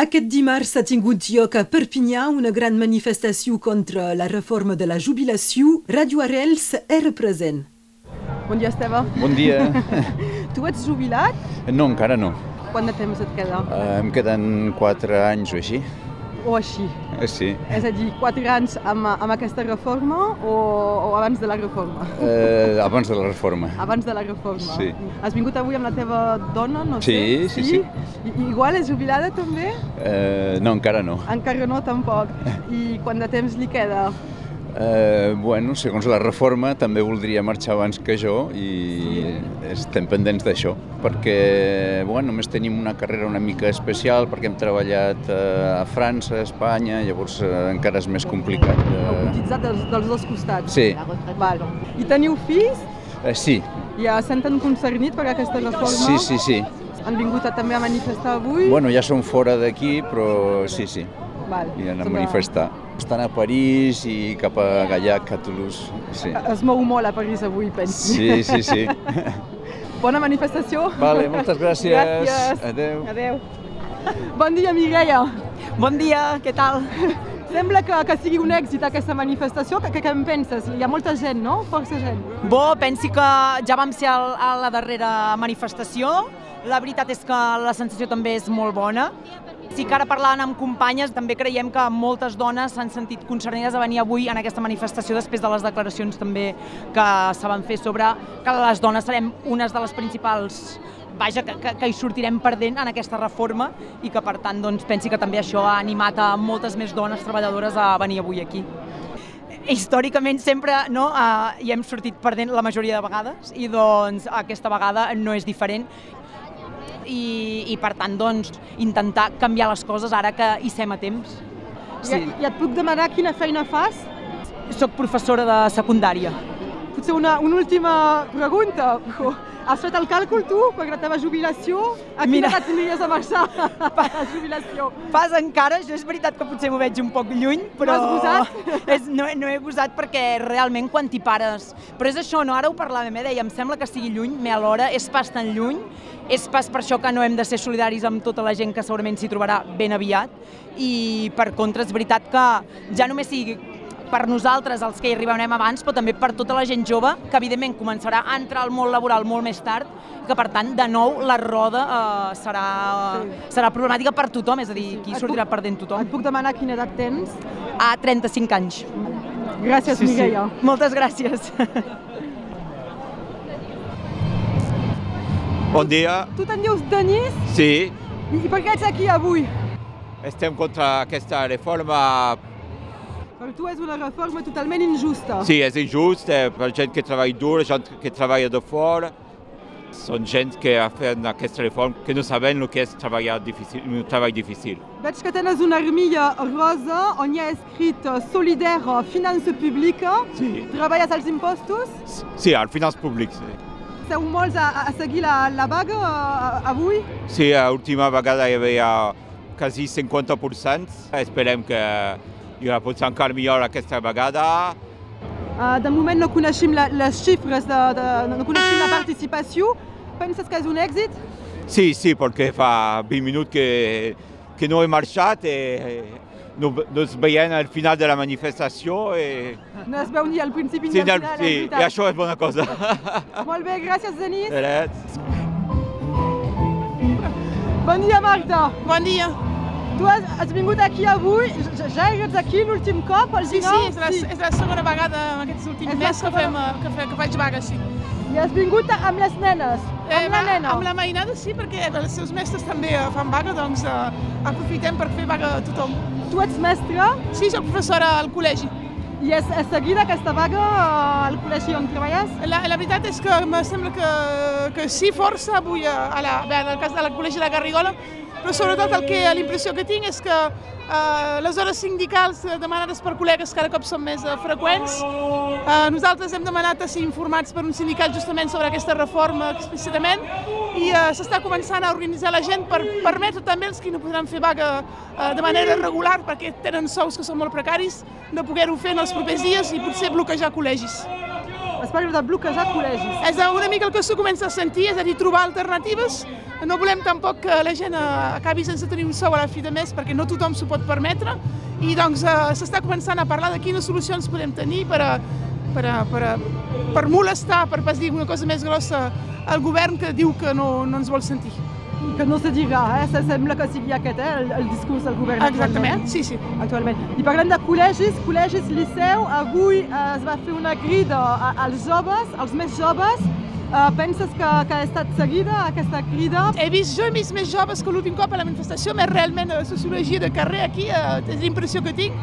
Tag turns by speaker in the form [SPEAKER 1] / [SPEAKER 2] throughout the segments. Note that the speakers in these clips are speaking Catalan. [SPEAKER 1] Aquest dimarts s'ha tingut lloc a Perpinyà una gran manifestació contra la reforma de la jubilació. Radio Arrels era present.
[SPEAKER 2] Bon dia, Esteve.
[SPEAKER 3] Bon dia.
[SPEAKER 2] Tu ets jubilat?
[SPEAKER 3] Eh, No, encara no.
[SPEAKER 2] Quant de temps et queda?
[SPEAKER 3] Eh, Em queden 4 anys o així.
[SPEAKER 2] O així?
[SPEAKER 3] Eh, Sí.
[SPEAKER 2] És a dir, quatre anys amb, amb aquesta reforma o, o abans de la reforma?
[SPEAKER 3] Eh, abans de la reforma.
[SPEAKER 2] Abans de la reforma.
[SPEAKER 3] Sí.
[SPEAKER 2] Has vingut avui amb la teva dona, no
[SPEAKER 3] Sí, sí,
[SPEAKER 2] sé? sí. I, igual és jubilada també?
[SPEAKER 3] Eh, no, encara no.
[SPEAKER 2] Encara no, tampoc. I quant de temps li queda?
[SPEAKER 3] Eh, bueno, segons la reforma també voldria marxar abans que jo i estem pendents d'això perquè, bueno, només tenim una carrera una mica especial perquè hem treballat eh, a França, a Espanya, llavors eh, encara és més complicat. Eh,
[SPEAKER 2] Cotitzat dels, dels dos costats.
[SPEAKER 3] sí,
[SPEAKER 2] Val. I teniu fills?
[SPEAKER 3] eh, sí,
[SPEAKER 2] Ja senten concernit per aquesta reforma?
[SPEAKER 3] sí, sí, sí.
[SPEAKER 2] Han vingut a, també a manifestar avui?
[SPEAKER 3] Bueno, ja som fora d'aquí, però sí, sí.
[SPEAKER 2] Val.
[SPEAKER 3] i anar a
[SPEAKER 2] Sembla-
[SPEAKER 3] manifestar. Estan a París i cap a Gallac, a Toulouse. Sí,
[SPEAKER 2] Es mou molt a París avui, penso.
[SPEAKER 3] sí, sí. sí.
[SPEAKER 2] Bona manifestació.
[SPEAKER 3] Vale, moltes gràcies.
[SPEAKER 2] Gràcies.
[SPEAKER 3] Adéu.
[SPEAKER 2] Adeu. Bon dia, Mireia.
[SPEAKER 4] Bon dia, què tal?
[SPEAKER 2] Sembla que, que sigui un èxit aquesta manifestació. Que, que, que en penses? Hi ha molta gent, no? Força gent.
[SPEAKER 4] Bo, pensi que ja vam ser al- a la darrera manifestació. La veritat és que la sensació també és molt bona. Sí que ara parlant amb companyes, també creiem que moltes dones s'han sentit concernides a venir avui en aquesta manifestació després de les declaracions també que se van fer sobre que les dones serem unes de les principals vaja, que, que, que hi sortirem perdent en aquesta reforma i que per tant doncs, pensi que també això ha animat a moltes més dones treballadores a venir avui aquí històricament sempre no, uh, hi hem sortit perdent la majoria de vegades i doncs aquesta vegada no és diferent i, i per tant doncs, intentar canviar les coses ara que hi sem a temps.
[SPEAKER 2] I,
[SPEAKER 4] Sí.
[SPEAKER 2] I et puc demanar quina feina fas?
[SPEAKER 4] Soc professora de secundària.
[SPEAKER 2] Potser una, una última pregunta. Has fet el càlcul, tu, per la teva jubilació? A quina
[SPEAKER 4] Mira.
[SPEAKER 2] edat tindries de marxar per la jubilació?
[SPEAKER 4] Pas encara, jo és veritat que potser m'ho veig un poc lluny, però...
[SPEAKER 2] No has gosat?
[SPEAKER 4] És, no, he- no he gosat perquè realment quan t'hi pares... Però és això, no? Ara ho parlàvem, eh? Deia, em sembla que sigui lluny, me alhora, és pas tan lluny, és pas per això que no hem de ser solidaris amb tota la gent que segurament s'hi trobarà ben aviat, i per contra és veritat que ja només sigui per nosaltres, els que hi arribarem abans, però també per tota la gent jove, que evidentment començarà a entrar al món laboral molt més tard, que per tant, de nou, la roda eh, serà,
[SPEAKER 2] Sí.
[SPEAKER 4] serà problemàtica per tothom, és a dir, qui
[SPEAKER 2] Et
[SPEAKER 4] sortirà
[SPEAKER 2] puc-
[SPEAKER 4] perdent tothom.
[SPEAKER 2] Et puc demanar quina edat tens?
[SPEAKER 4] A 35 anys.
[SPEAKER 2] Gràcies, Mireia.
[SPEAKER 4] Moltes gràcies.
[SPEAKER 5] Bon dia,
[SPEAKER 2] Tu te'n dius Denis?
[SPEAKER 5] sí,
[SPEAKER 2] I, I per què ets aquí avui?
[SPEAKER 5] estem contra aquesta reforma.
[SPEAKER 2] Per tu és una reforma totalment injusta.
[SPEAKER 5] Sí, és injust eh, per gent que treballa dur, gent que treballa de fora. Són gent que ha fet aquesta reforma que no saben el que és treballar difícil, un treball difícil.
[SPEAKER 2] Veig que tens una armilla rosa on hi ha escrit eh, Solidaire Finança Pública.
[SPEAKER 5] Sí,
[SPEAKER 2] Treballes als impostos?
[SPEAKER 5] sí al finance públic. Sí,
[SPEAKER 2] Sou molts a, a- a seguir la, la vaga eh, avui?
[SPEAKER 5] sí l'última vegada hi havia quasi 50%. Esperem que hi haurà potser encara millor aquesta vegada.
[SPEAKER 2] Eh, De moment no coneixem la, les xifres, de, de, no coneixem la participació. Penses que és un èxit?
[SPEAKER 5] Sì, sì, perché fa 20 minuti che, che noi marciate, eh, non, non sbagliamo al finale della manifestazione. E,
[SPEAKER 2] No es veu ni al principi ni
[SPEAKER 5] sì,
[SPEAKER 2] al
[SPEAKER 5] dal-
[SPEAKER 2] final,
[SPEAKER 5] sì,
[SPEAKER 2] és
[SPEAKER 5] e
[SPEAKER 2] veritat.
[SPEAKER 5] lasciamo è buona cosa.
[SPEAKER 2] Molt bé, gràcies, Denis.
[SPEAKER 5] Grazie.
[SPEAKER 2] Bon dia, Marta.
[SPEAKER 6] Bon dia.
[SPEAKER 2] Tu has, has vingut aquí avui, ja, ja eres aquí l'últim cop, al
[SPEAKER 6] Sí, sí,
[SPEAKER 2] final?
[SPEAKER 6] és la, és la segona vegada en aquests últims
[SPEAKER 2] És la
[SPEAKER 6] mesos que, fem,
[SPEAKER 2] segona-
[SPEAKER 6] eh, que, fe, que faig vaga, sí.
[SPEAKER 2] I has vingut amb les nenes, amb la
[SPEAKER 6] Eh, va-
[SPEAKER 2] nena.
[SPEAKER 6] amb la mainada sí, perquè els seus mestres també eh, fan vaga, doncs eh, aprofitem per fer vaga a tothom.
[SPEAKER 2] Tu ets mestra
[SPEAKER 6] Sí, soc professora al col·legi.
[SPEAKER 2] i és, és seguida aquesta vaga eh, al col·legi on treballes?
[SPEAKER 6] La, la veritat és que em sembla que, que sí, força avui eh, a la, bé, en el cas del col·legi de la Garrigola, però sobretot el que, l'impressió que tinc és que eh, les hores sindicals eh, demanades per col·legues cada cop són més eh, freqüents. Eh, nosaltres hem demanat a ser informats per un sindicat justament sobre aquesta reforma explícitament i eh, s'està començant a organitzar la gent per permetre també els que no podran fer vaga eh, de manera regular perquè tenen sous que són molt precaris de poder-ho fer en els propers dies i potser bloquejar col·legis.
[SPEAKER 2] Es l'espai de bloquejar col·legis.
[SPEAKER 6] És una mica el que s'ho comença a sentir, és a dir, trobar alternatives. No volem tampoc que la gent eh, acabi sense tenir un sou a la fi de mes, perquè no tothom s'ho pot permetre, i doncs eh, s'està començant a parlar de quines solucions podem tenir per, a, per, a, per, a, per molestar, per pas dir una cosa més grossa, al govern que diu que no, no ens vol sentir.
[SPEAKER 2] Que no se dirà, eh? Se- Sembla que sigui aquest, eh? El, el discurs del govern.
[SPEAKER 6] Exactament, sí, sí.
[SPEAKER 2] actualment. I parlem de col·legis, col·legis, liceu, avui eh, es va fer una crida a- als joves, als més joves. Eh, penses que, que ha estat seguida aquesta crida?
[SPEAKER 6] He vist, jo he vist més joves que l'últim cop a la manifestació, més realment a sociologia de carrer aquí, eh, és l'impressió que tinc.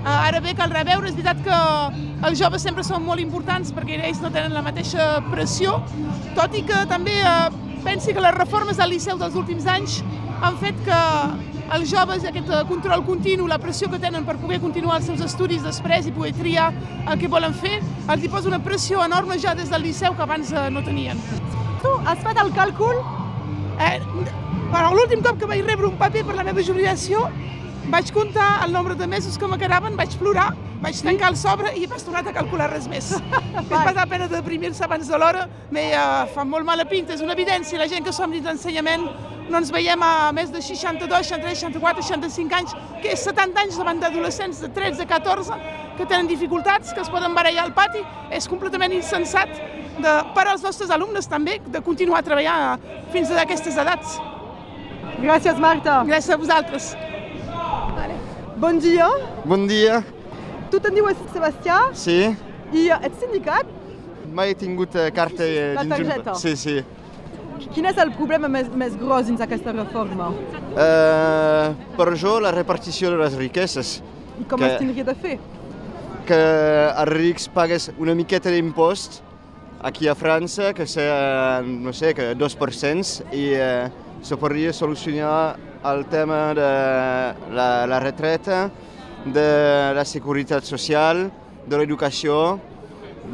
[SPEAKER 6] Eh, ara bé, cal reveure, és veritat que els joves sempre són molt importants perquè ells no tenen la mateixa pressió, tot i que també eh, pensi que les reformes del Liceu dels últims anys han fet que els joves, aquest eh, control continu, la pressió que tenen per poder continuar els seus estudis després i poder triar el que volen fer, els hi posa una pressió enorme ja des del Liceu que abans eh, no tenien.
[SPEAKER 2] Tu has fet el càlcul?
[SPEAKER 6] Eh, però l'últim cop que vaig rebre un paper per la meva jubilació, vaig comptar el nombre de mesos que me quedaven, vaig plorar, vaig tancar el sobre i vaig tornar a calcular res més. és pas la pena de deprimir-se abans de l'hora, m'he eh, fa molt mala pinta, és una evidència, la gent que som dins d'ensenyament no ens veiem a més de 62, 63, 64, 65 anys, que és 70 anys davant d'adolescents de 13, 14, que tenen dificultats, que es poden barallar al pati, és completament insensat de, per als nostres alumnes també, de continuar a treballar fins a aquestes edats.
[SPEAKER 2] Gràcies, Marta.
[SPEAKER 6] Gràcies a vosaltres.
[SPEAKER 2] Bon dia.
[SPEAKER 7] Bon dia,
[SPEAKER 2] Tu te'n dius Sebastià
[SPEAKER 7] sí.
[SPEAKER 2] i eh, ets sindicat?
[SPEAKER 7] Mai he tingut eh, carta eh,
[SPEAKER 2] La
[SPEAKER 7] dins un...
[SPEAKER 2] targeta.
[SPEAKER 7] Sí, sí. Eh,
[SPEAKER 2] Quin és el problema més, més gros dins aquesta reforma?
[SPEAKER 7] Eh, per jo, la repartició de les riqueses.
[SPEAKER 2] I com
[SPEAKER 7] Que-
[SPEAKER 2] es tindria de fer?
[SPEAKER 7] Que els rics pagues una miqueta d'impost aquí a França, que sea, no sé, que 2%, i eh, se podria solucionar el tema de la, la retreta, de la seguretat social, de l'educació,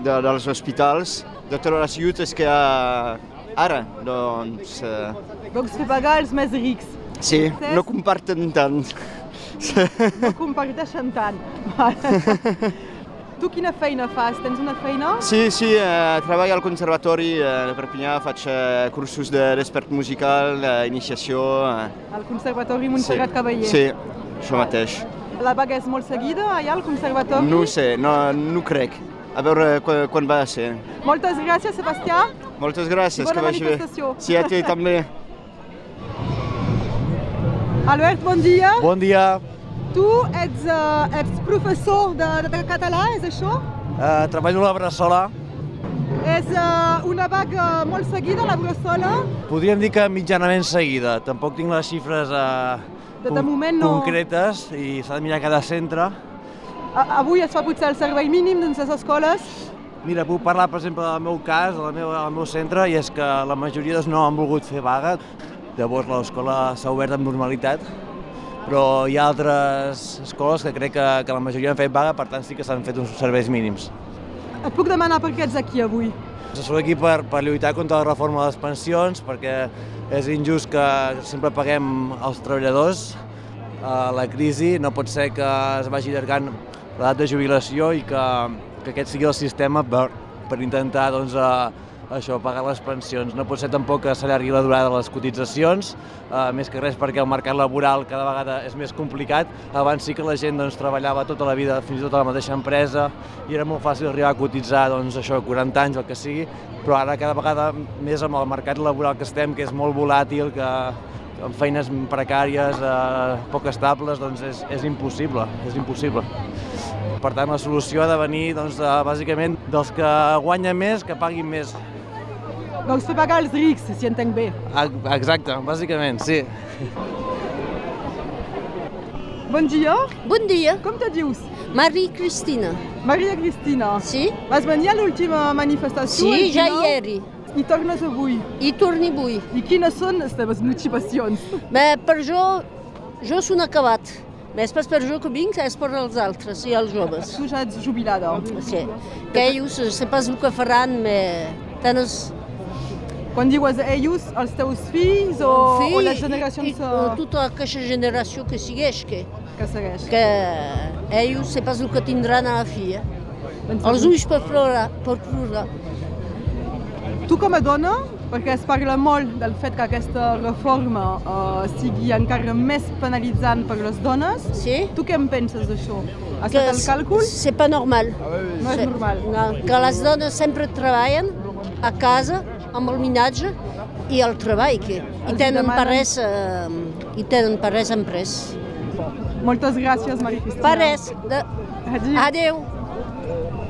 [SPEAKER 7] de, dels hospitals, de totes les lluites que hi ha ara. Doncs, eh,
[SPEAKER 2] Doncs fer pagar els més rics.
[SPEAKER 7] Sí,
[SPEAKER 2] Francesc?
[SPEAKER 7] no comparten tant.
[SPEAKER 2] No comparteixen tant. Vale. tu quina feina fas? Tens una feina?
[SPEAKER 7] Sí, sí, eh, treballo al conservatori eh, de Perpinyà, faig eh, cursos de- d'expert musical, eh, iniciació... Eh,
[SPEAKER 2] Al Conservatori Montserrat
[SPEAKER 7] sí.
[SPEAKER 2] Cavaller.
[SPEAKER 7] Sí, això mateix.
[SPEAKER 2] La vaga és molt seguida allà al Conservatori.
[SPEAKER 7] No ho sé, no, no ho crec. A veure eh, quan, quan va ser.
[SPEAKER 2] Moltes gràcies, Sebastià.
[SPEAKER 7] Moltes gràcies,
[SPEAKER 2] Bona
[SPEAKER 7] que vagi bé.
[SPEAKER 2] manifestació.
[SPEAKER 7] Sí, a tu també.
[SPEAKER 2] Albert, bon dia.
[SPEAKER 8] Bon dia,
[SPEAKER 2] Tu ets, eh, ets professor de, de català, és això?
[SPEAKER 8] eh, treballo a la Bressola.
[SPEAKER 2] És eh, una vaga molt seguida, la Brassola.
[SPEAKER 8] Podríem dir que mitjanament seguida, tampoc tinc les xifres eh,
[SPEAKER 2] De- de
[SPEAKER 8] con-
[SPEAKER 2] moment no.
[SPEAKER 8] concretes i s'ha de mirar cada centre.
[SPEAKER 2] A- Avui es fa potser el servei mínim dins les escoles.
[SPEAKER 8] Mira, puc parlar, per exemple, del meu cas, del meu, del meu centre, i és que la majoria doncs, no han volgut fer vaga. Llavors l'escola s'ha obert amb normalitat, però hi ha altres escoles que crec que, que la majoria han fet vaga, per tant sí que s'han fet uns serveis mínims.
[SPEAKER 2] Et puc demanar per què ets aquí avui?
[SPEAKER 8] Sóc aquí per, per lluitar contra la reforma de les pensions, perquè és injust que sempre paguem els treballadors eh, la crisi. No pot ser que es vagi allargant l'edat de jubilació i que, que aquest sigui el sistema per, per intentar doncs, eh, això pagar les pensions. No pot ser tampoc que s'allargui la durada de les cotitzacions, eh, més que res perquè el mercat laboral cada vegada és més complicat. Abans sí que la gent doncs, treballava tota la vida, fins i tot a la mateixa empresa, i era molt fàcil arribar a cotitzar doncs, això, 40 anys o el que sigui, però ara cada vegada més amb el mercat laboral que estem, que és molt volàtil, que amb feines precàries, eh, poc estables, doncs és, és impossible, és impossible. Per tant, la solució ha de venir, doncs, de, bàsicament, dels que guanyen més, que paguin més.
[SPEAKER 2] Doncs fer pagar els rics, si entenc bé.
[SPEAKER 8] Ah, Exacte, bàsicament, sí.
[SPEAKER 2] Bon dia.
[SPEAKER 9] Bon dia,
[SPEAKER 2] Com te dius?
[SPEAKER 9] Marie Cristina.
[SPEAKER 2] Maria Cristina.
[SPEAKER 9] Sí?
[SPEAKER 2] Vas venir a l'última manifestació?
[SPEAKER 9] Sí,
[SPEAKER 2] el
[SPEAKER 9] ja
[SPEAKER 2] dinou,
[SPEAKER 9] ieri.
[SPEAKER 2] I tornes avui.
[SPEAKER 9] I torni avui.
[SPEAKER 2] I quines són les teves motivacions?
[SPEAKER 9] Bé, per jo, jo són acabat. Més pas per jo que vinc és per als altres i als joves.
[SPEAKER 2] Tu ja ets jubilada.
[SPEAKER 9] Sí. Que ells, eh, sé pas el que faran, però tenes...
[SPEAKER 2] Quan dius ells, els teus fills o, o les
[SPEAKER 9] i,
[SPEAKER 2] generacions
[SPEAKER 9] i,
[SPEAKER 2] eh,
[SPEAKER 9] tota aquesta generació que segueix, que,
[SPEAKER 2] que segueix?
[SPEAKER 9] que ells sé pas el que tindran a la fi. Eh?
[SPEAKER 2] Penses-
[SPEAKER 9] els ulls per plorar, per plorar.
[SPEAKER 2] Tu com a dona, perquè es parla molt del fet que aquesta reforma eh, sigui encara més penalitzant per les dones,
[SPEAKER 9] Sí?
[SPEAKER 2] tu què en penses d'això? Has
[SPEAKER 9] Que
[SPEAKER 2] fet el
[SPEAKER 9] és-
[SPEAKER 2] càlcul?
[SPEAKER 9] C'est pas normal.
[SPEAKER 2] No és
[SPEAKER 9] Sí.
[SPEAKER 2] normal.
[SPEAKER 9] No, que les dones sempre treballen a casa, amb el minatge i el treball, que
[SPEAKER 2] Els
[SPEAKER 9] i
[SPEAKER 2] hi
[SPEAKER 9] tenen
[SPEAKER 2] demanen-
[SPEAKER 9] per res, eh, i tenen per res emprès.
[SPEAKER 2] Moltes gràcies, Maria Cristina.
[SPEAKER 9] Per res. De...
[SPEAKER 2] Adéu.
[SPEAKER 9] Adéu.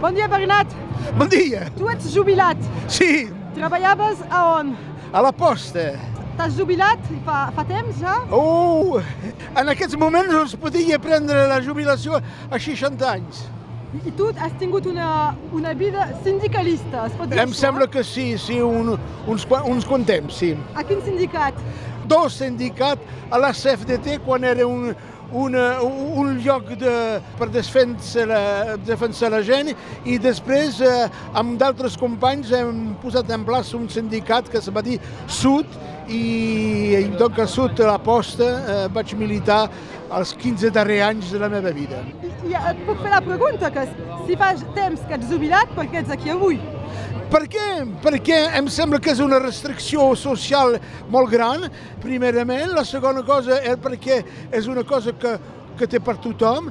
[SPEAKER 2] Bon dia, Bernat.
[SPEAKER 10] Bon dia!
[SPEAKER 2] Tu ets jubilat.
[SPEAKER 10] Sí,
[SPEAKER 2] Treballaves a on?
[SPEAKER 10] a la posta.
[SPEAKER 2] T'has jubilat fa, fa temps ja?
[SPEAKER 10] Oh, en aquests moments no es podia prendre la jubilació a 60 anys.
[SPEAKER 2] I tu has tingut una, una vida sindicalista, es pot dir
[SPEAKER 10] Em
[SPEAKER 2] això?
[SPEAKER 10] sembla que sí, sí, un, uns, qua- uns quants temps, sí.
[SPEAKER 2] A quin sindicat?
[SPEAKER 10] Dos sindicat a la CFDT quan era un, una, un lloc de, per defensar la, defensar la gent i després eh, amb d'altres companys hem posat en plaça un sindicat que es va dir Sud i, i doncs a Sud a la posta eh, vaig militar els 15 darrers anys de la meva vida.
[SPEAKER 2] I, i eh, et puc fer la pregunta, que és, si fa temps que ets jubilat, per què ets aquí avui?
[SPEAKER 10] Per què? Perquè em sembla que és una restricció social molt gran, primerament. La segona cosa és perquè és una cosa que, que té per tothom.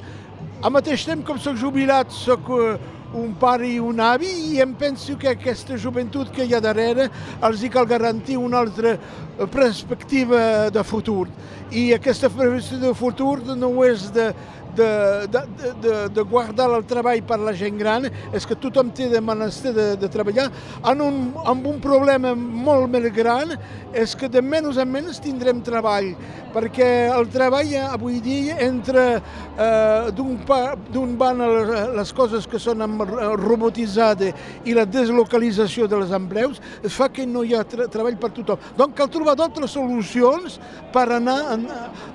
[SPEAKER 10] Al mateix temps, com sóc jubilat, sóc eh, un pare i un avi i em penso que aquesta joventut que hi ha darrere els hi cal garantir una altra eh, perspectiva de futur. I aquesta perspectiva de futur no és de, de, de, de- de, de guardar el treball per la gent gran és que tothom té de menester de, de treballar en un, amb un problema molt més gran és que de menys en menys tindrem treball perquè el treball eh, avui dia entre eh, d'un pa- d'un van les, les coses que són amb- eh, robotitzades i la deslocalització de les empleus fa que no hi ha tra treball per tothom doncs cal trobar d'altres solucions per anar en,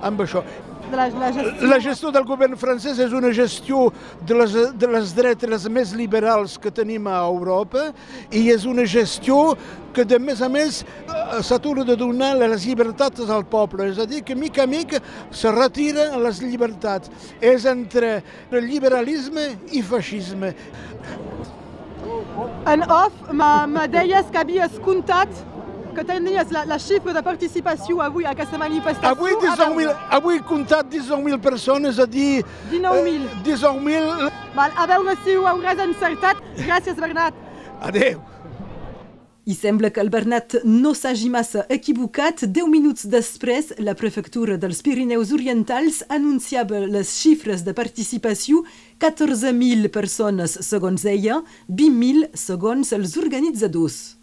[SPEAKER 10] amb això
[SPEAKER 2] De la, la gestió.
[SPEAKER 10] la gestió del govern francès és una gestió de les, de les dretes més liberals que tenim a Europa i és una gestió que, de més a més, eh, s'atura de donar les llibertats al poble. És a dir, que mica a mica se retiren les llibertats. És entre el liberalisme i feixisme.
[SPEAKER 2] En off, me, me deies que havies comptat que tenies la, la xifra de participació avui a aquesta manifestació.
[SPEAKER 10] Avui,
[SPEAKER 2] a
[SPEAKER 10] 19.000
[SPEAKER 2] veure.
[SPEAKER 10] avui he comptat 19.000 persones, és a dir...
[SPEAKER 2] 19.000.
[SPEAKER 10] eh, 19.000...
[SPEAKER 2] Val, a veure si ho hauràs encertat. Gràcies, Bernat.
[SPEAKER 10] Adéu!
[SPEAKER 1] I sembla que el Bernat no s'hagi massa equivocat. Deu minuts després, la prefectura dels Pirineus Orientals anunciava les xifres de participació 14.000 persones, segons ella, 20.000 segons els organitzadors.